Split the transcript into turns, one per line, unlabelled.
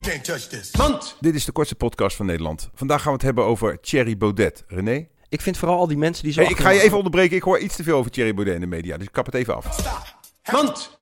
Can't touch this.
Want
Dit is de kortste podcast van Nederland. Vandaag gaan we het hebben over Thierry Baudet. René?
ik vind vooral al die mensen die zo.
Hey, ik ga je
achter-
even onderbreken. Ik hoor iets te veel over Thierry Baudet in de media. Dus ik kap het even af.
Stop.
Want